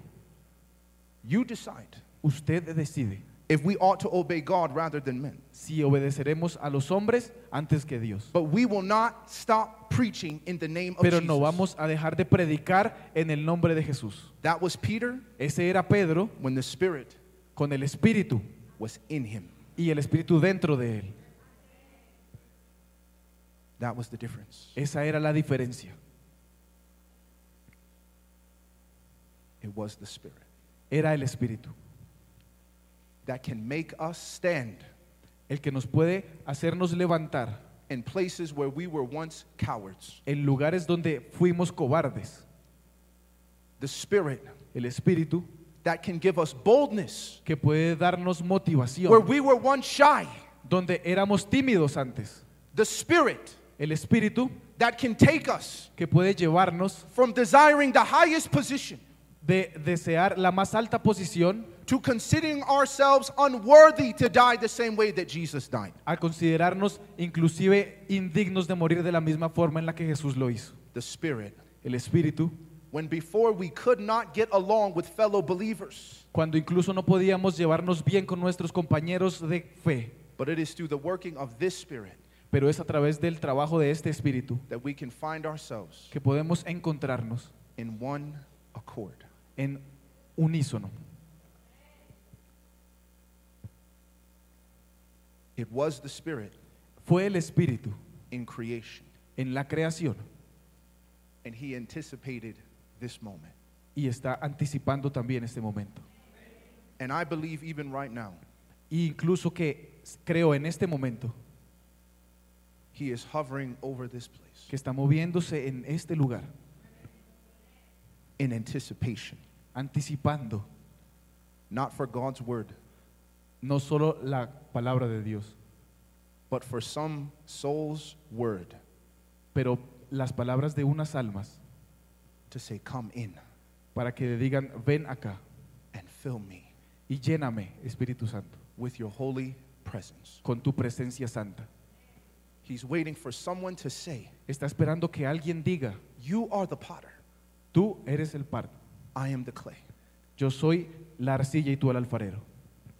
S1: You decide
S2: usted decide
S1: if we ought to obey God rather than men.
S2: si obedeceremos a los hombres antes que Dios.
S1: But we will not stop preaching in the name of
S2: Pero
S1: Oh, Jesus.
S2: no vamos a dejar de predicar en el nombre de Jesús.
S1: That was Peter
S2: Ese era Pedro
S1: when the Spirit
S2: con el Espíritu
S1: was in him.
S2: y el Espíritu dentro de él.
S1: That was the difference.
S2: Esa era la diferencia.
S1: It was the Spirit
S2: Era el Espíritu
S1: that can make us stand
S2: el que nos puede hacernos levantar
S1: in places where we were once cowards.
S2: en lugares donde fuimos cobardes.
S1: The Spirit
S2: El Espíritu
S1: that can give us boldness
S2: que puede darnos
S1: where
S2: motivación,
S1: we were once shy.
S2: donde éramos tímidos antes.
S1: The Spirit
S2: El Espíritu
S1: that can take us
S2: que puede llevarnos
S1: from desiring the highest position
S2: de desear la más alta posición
S1: to considering ourselves unworthy to die the same way that Jesus died.
S2: a considerarnos inclusive indignos de morir de la misma forma en la que Jesús lo hizo.
S1: The Spirit,
S2: El Espíritu,
S1: when before we could not get along with fellow believers,
S2: cuando incluso no podíamos llevarnos bien con nuestros compañeros de fe,
S1: but it is through the working of this Spirit
S2: pero es a través del trabajo de este Espíritu
S1: that we can find ourselves
S2: que podemos encontrarnos
S1: in one accord.
S2: en unísono.
S1: It was the Spirit
S2: Fue el Espíritu
S1: in creation,
S2: en la creación
S1: and He anticipated this moment.
S2: y está anticipando también este momento.
S1: And I believe even right now,
S2: Y incluso que creo en este momento
S1: He is hovering over this place
S2: que está moviéndose en este lugar,
S1: in anticipation,
S2: anticipando
S1: not for God's word,
S2: no solo la palabra de Dios,
S1: but for some soul's word
S2: pero las palabras de unas almas
S1: to say, Come in
S2: para que digan, ven acá
S1: and fill me
S2: y lléname, Espíritu Santo,
S1: with your holy presence.
S2: con tu presencia santa.
S1: He's waiting for someone to say,
S2: Está esperando que alguien diga,
S1: You are the potter,
S2: tú eres el par,
S1: I am the clay.
S2: yo soy la arcilla y tú el alfarero.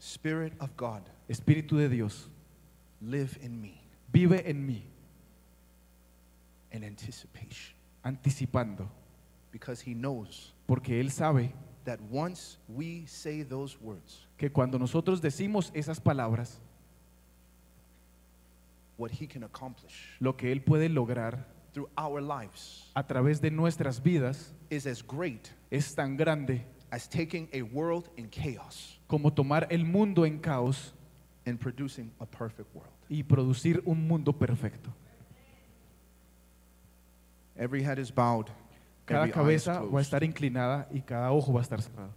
S1: Spirit of God,
S2: Espíritu de Dios,
S1: live in me
S2: vive en mí,
S1: in anticipation,
S2: anticipando,
S1: because He knows
S2: porque Él sabe
S1: that once we say those words,
S2: que cuando nosotros decimos esas palabras,
S1: what He can accomplish
S2: lo que Él puede lograr
S1: through our lives
S2: a través de nuestras vidas
S1: is as great
S2: es tan grande
S1: as taking a world in chaos
S2: como tomar el mundo en caos
S1: and producing a perfect world.
S2: y producir un mundo perfecto.
S1: Every head is bowed,
S2: Cada
S1: every eye is
S2: cabeza va a
S1: closed.
S2: estar inclinada y cada ojo va a estar cerrado.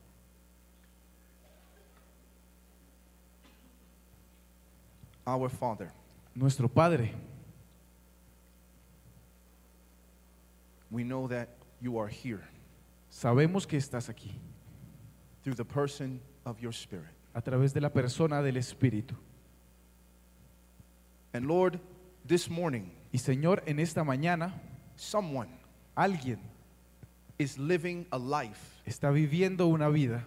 S1: Our Father,
S2: Nuestro Padre,
S1: we know that you are here
S2: sabemos que estás aquí
S1: through the person of your Spirit.
S2: a través de la persona del Espíritu.
S1: And Lord, this morning,
S2: Y Señor, en esta mañana
S1: someone
S2: alguien
S1: is living a life
S2: está viviendo una vida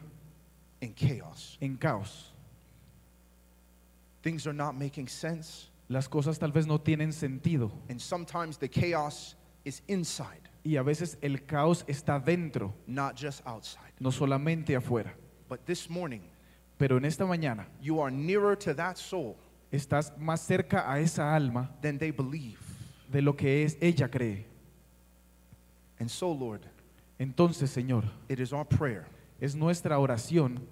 S1: in chaos.
S2: en caos.
S1: Things are not making sense,
S2: Las cosas tal vez no tienen sentido
S1: and sometimes the chaos is inside,
S2: y a veces el caos está dentro,
S1: not just outside.
S2: no solamente afuera.
S1: But this morning,
S2: Pero en esta mañana
S1: you are nearer to that soul
S2: estás más cerca a esa alma
S1: than they believe.
S2: de lo que es ella cree.
S1: And so, Lord,
S2: Entonces, Señor,
S1: it is our prayer
S2: es nuestra oración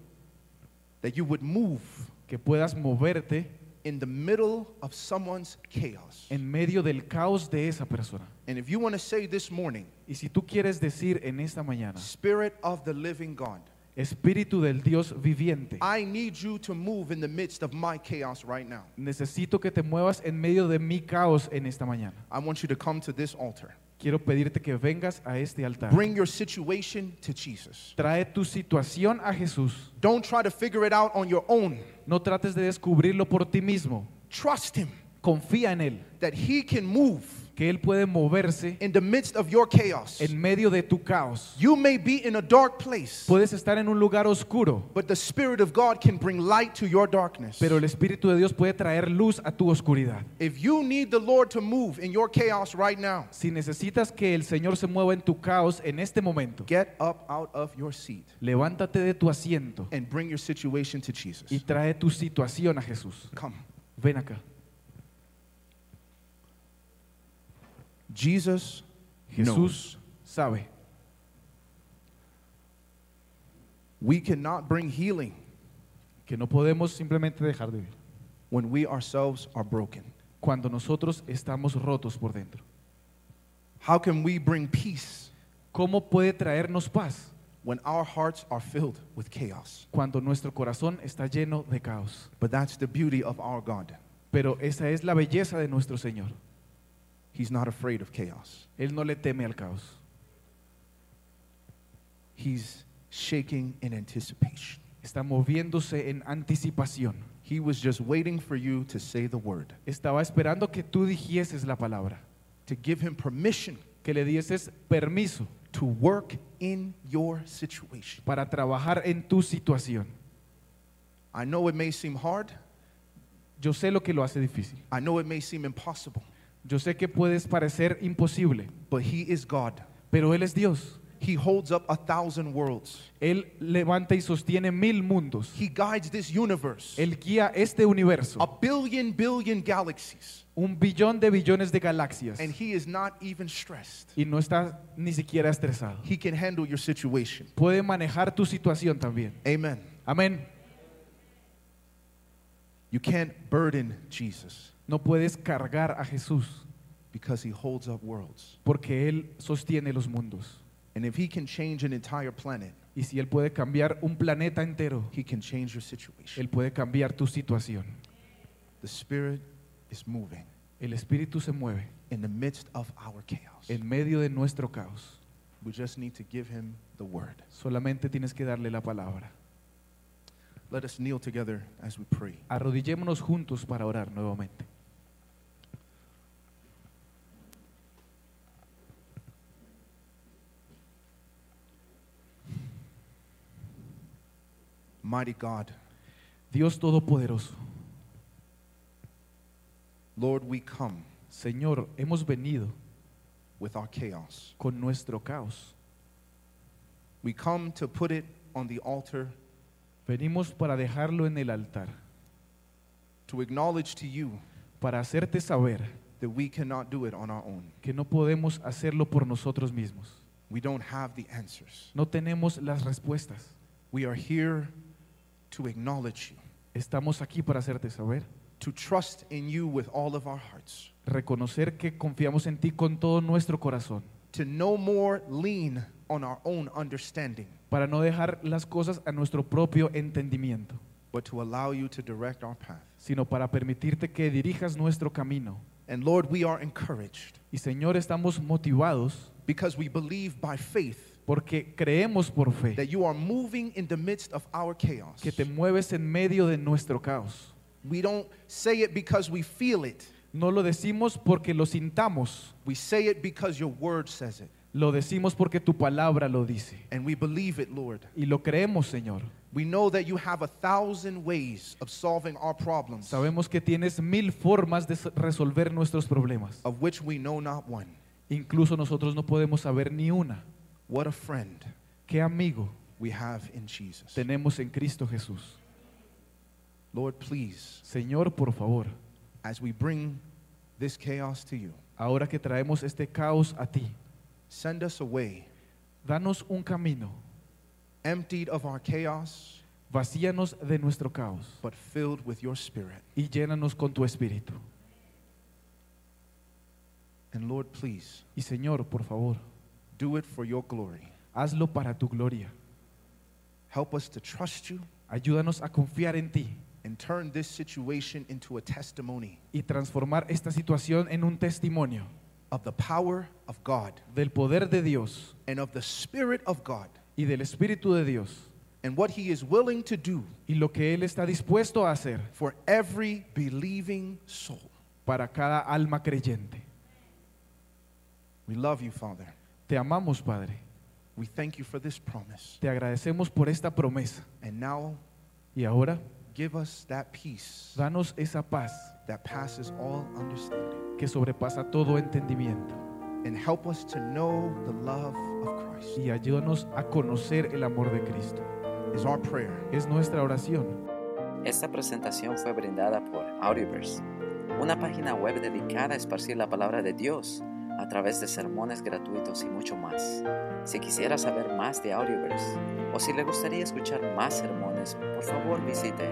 S1: that you would move
S2: que puedas moverte
S1: in the middle of someone's chaos.
S2: en medio del caos de esa persona.
S1: And if you want to say this morning,
S2: Y si tú quieres decir en esta mañana,
S1: Spirit of the living God,
S2: Espíritu del Dios viviente,
S1: I need you to move in the midst of my chaos right now.
S2: necesito que te muevas en medio de mi caos en esta mañana.
S1: I want you to come to this altar.
S2: Quiero pedirte que vengas a este altar.
S1: Bring your situation to Jesus.
S2: Trae tu situación a Jesús.
S1: Don't try to figure it out on your own.
S2: No trates de descubrirlo por ti mismo.
S1: Trust Him
S2: Confía en Él,
S1: that He can move
S2: que Él puede moverse
S1: in the midst of your chaos.
S2: en medio de tu caos.
S1: You may be in a dark place,
S2: Puedes estar en un lugar oscuro,
S1: but the Spirit of God can bring light to your darkness.
S2: pero el Espíritu de Dios puede traer luz a tu oscuridad.
S1: If you need the Lord to move in your chaos right now,
S2: Si necesitas que el Señor se mueva en tu caos en este momento,
S1: get up out of your seat
S2: levántate de tu asiento
S1: and bring your situation to Jesus.
S2: y trae tu situación a Jesús.
S1: Come.
S2: Ven acá.
S1: Jesus knows
S2: Jesús sabe,
S1: we cannot bring healing
S2: que no podemos simplemente dejar de vivir.
S1: when we ourselves are broken?
S2: cuando nosotros estamos rotos por dentro?
S1: How can we bring peace
S2: ¿Cómo puede traernos paz
S1: when our hearts are filled with chaos?
S2: cuando nuestro corazón está lleno de caos?
S1: But that's the beauty of our God.
S2: Pero esa es la belleza de nuestro Señor.
S1: He's not afraid of chaos.
S2: Él no le teme al caos.
S1: He's shaking in anticipation.
S2: Está moviéndose en anticipación.
S1: He was just waiting for you to say the word,
S2: Estaba esperando que tú dijeses la palabra,
S1: to give him permission
S2: que le dieses permiso
S1: to work in your situation.
S2: para trabajar en tu situación.
S1: I know it may seem hard.
S2: Yo sé lo que lo hace difícil.
S1: I know it may seem impossible,
S2: Yo sé que puedes parecer imposible,
S1: but he is God.
S2: pero Él es Dios.
S1: He holds up a thousand worlds.
S2: Él levanta y sostiene mil mundos.
S1: He guides this universe,
S2: Él guía este
S1: a
S2: universo,
S1: billion billion galaxies,
S2: un billón de billones de galaxias,
S1: and he is not even stressed.
S2: y no está ni siquiera estresado.
S1: He can handle your situation.
S2: Puede manejar tu situación también.
S1: Amen.
S2: Amén.
S1: You can't burden Jesus
S2: No puedes cargar a Jesús
S1: because he holds up worlds.
S2: porque Él sostiene los mundos.
S1: And if he can change an entire planet,
S2: Y si Él puede cambiar un planeta entero,
S1: he can change your situation.
S2: Él puede cambiar tu situación.
S1: The Spirit is moving
S2: El Espíritu se mueve
S1: in the midst of our chaos.
S2: en medio de nuestro caos.
S1: We just need to give him the word.
S2: Solamente tienes que darle la palabra.
S1: Let us kneel together as we pray.
S2: Arrodillémonos juntos para orar nuevamente.
S1: Mighty God,
S2: Dios Todopoderoso,
S1: Lord, we come
S2: Señor, hemos venido
S1: with our chaos.
S2: con nuestro caos.
S1: We come to put it on the altar
S2: Venimos para dejarlo en el altar,
S1: to acknowledge to you
S2: para hacerte saber
S1: that we cannot do it on our own.
S2: que no podemos hacerlo por nosotros mismos.
S1: We don't have the answers.
S2: No tenemos las respuestas.
S1: We are here to acknowledge you,
S2: Estamos aquí para hacerte saber,
S1: to trust in you with all of our hearts,
S2: reconocer que confiamos en ti con todo nuestro corazón,
S1: to no more lean on our own understanding,
S2: para no dejar las cosas a nuestro propio entendimiento,
S1: but to allow you to direct our path.
S2: sino para permitirte que dirijas nuestro camino.
S1: And Lord, we are encouraged
S2: Y Señor, estamos motivados
S1: because we believe by faith
S2: porque creemos por fe.
S1: that you are moving in the midst of our chaos.
S2: que te mueves en medio de nuestro caos.
S1: We don't say it because we feel it.
S2: No lo decimos porque lo sintamos,
S1: We say it because your word says it.
S2: lo decimos porque tu palabra lo dice.
S1: And we believe it, Lord.
S2: Y lo creemos, Señor.
S1: We know that you have a thousand ways of solving our problems,
S2: Sabemos que tienes mil formas de so- resolver nuestros problemas.
S1: of which we know not one.
S2: Incluso nosotros no podemos saber ni una.
S1: What a friend
S2: ¿Qué amigo
S1: we have in Jesus.
S2: tenemos en Cristo Jesús?
S1: Lord, please,
S2: Señor, por favor,
S1: as we bring this chaos to you,
S2: ahora que traemos este caos a ti,
S1: send us away
S2: danos un camino,
S1: emptied of our chaos,
S2: vacíanos de nuestro caos
S1: but filled with your spirit.
S2: y llénanos con tu espíritu.
S1: And Lord, please,
S2: Y Señor, por favor,
S1: do it for your glory.
S2: hazlo para tu gloria.
S1: Help us to trust you
S2: Ayúdanos a confiar en ti
S1: and turn this situation into a testimony
S2: y transformar esta situación en un testimonio
S1: of the power of God
S2: del poder de Dios
S1: and of the Spirit of God
S2: y del Espíritu de Dios
S1: and what He is willing to do
S2: y lo que Él está dispuesto a hacer
S1: for every believing soul.
S2: para cada alma creyente.
S1: We love you, Father.
S2: Te amamos, Padre.
S1: We thank you for this promise.
S2: Te agradecemos por esta promesa.
S1: And now
S2: Y ahora,
S1: give us that peace
S2: danos esa paz
S1: that passes all understanding
S2: que sobrepasa todo entendimiento
S1: and help us to know the love of Christ,
S2: y ayúdanos a conocer el amor de Cristo.
S1: is our prayer.
S2: Es nuestra oración.
S3: Esta presentación fue brindada por Audioverse, una página web dedicada a esparcir la palabra de Dios a través de sermones gratuitos y mucho más. Si quisiera saber más de Audioverse o si le gustaría escuchar más sermones, por favor visite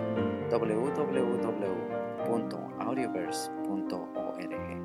S3: www.audioverse.org www.audioverse.org.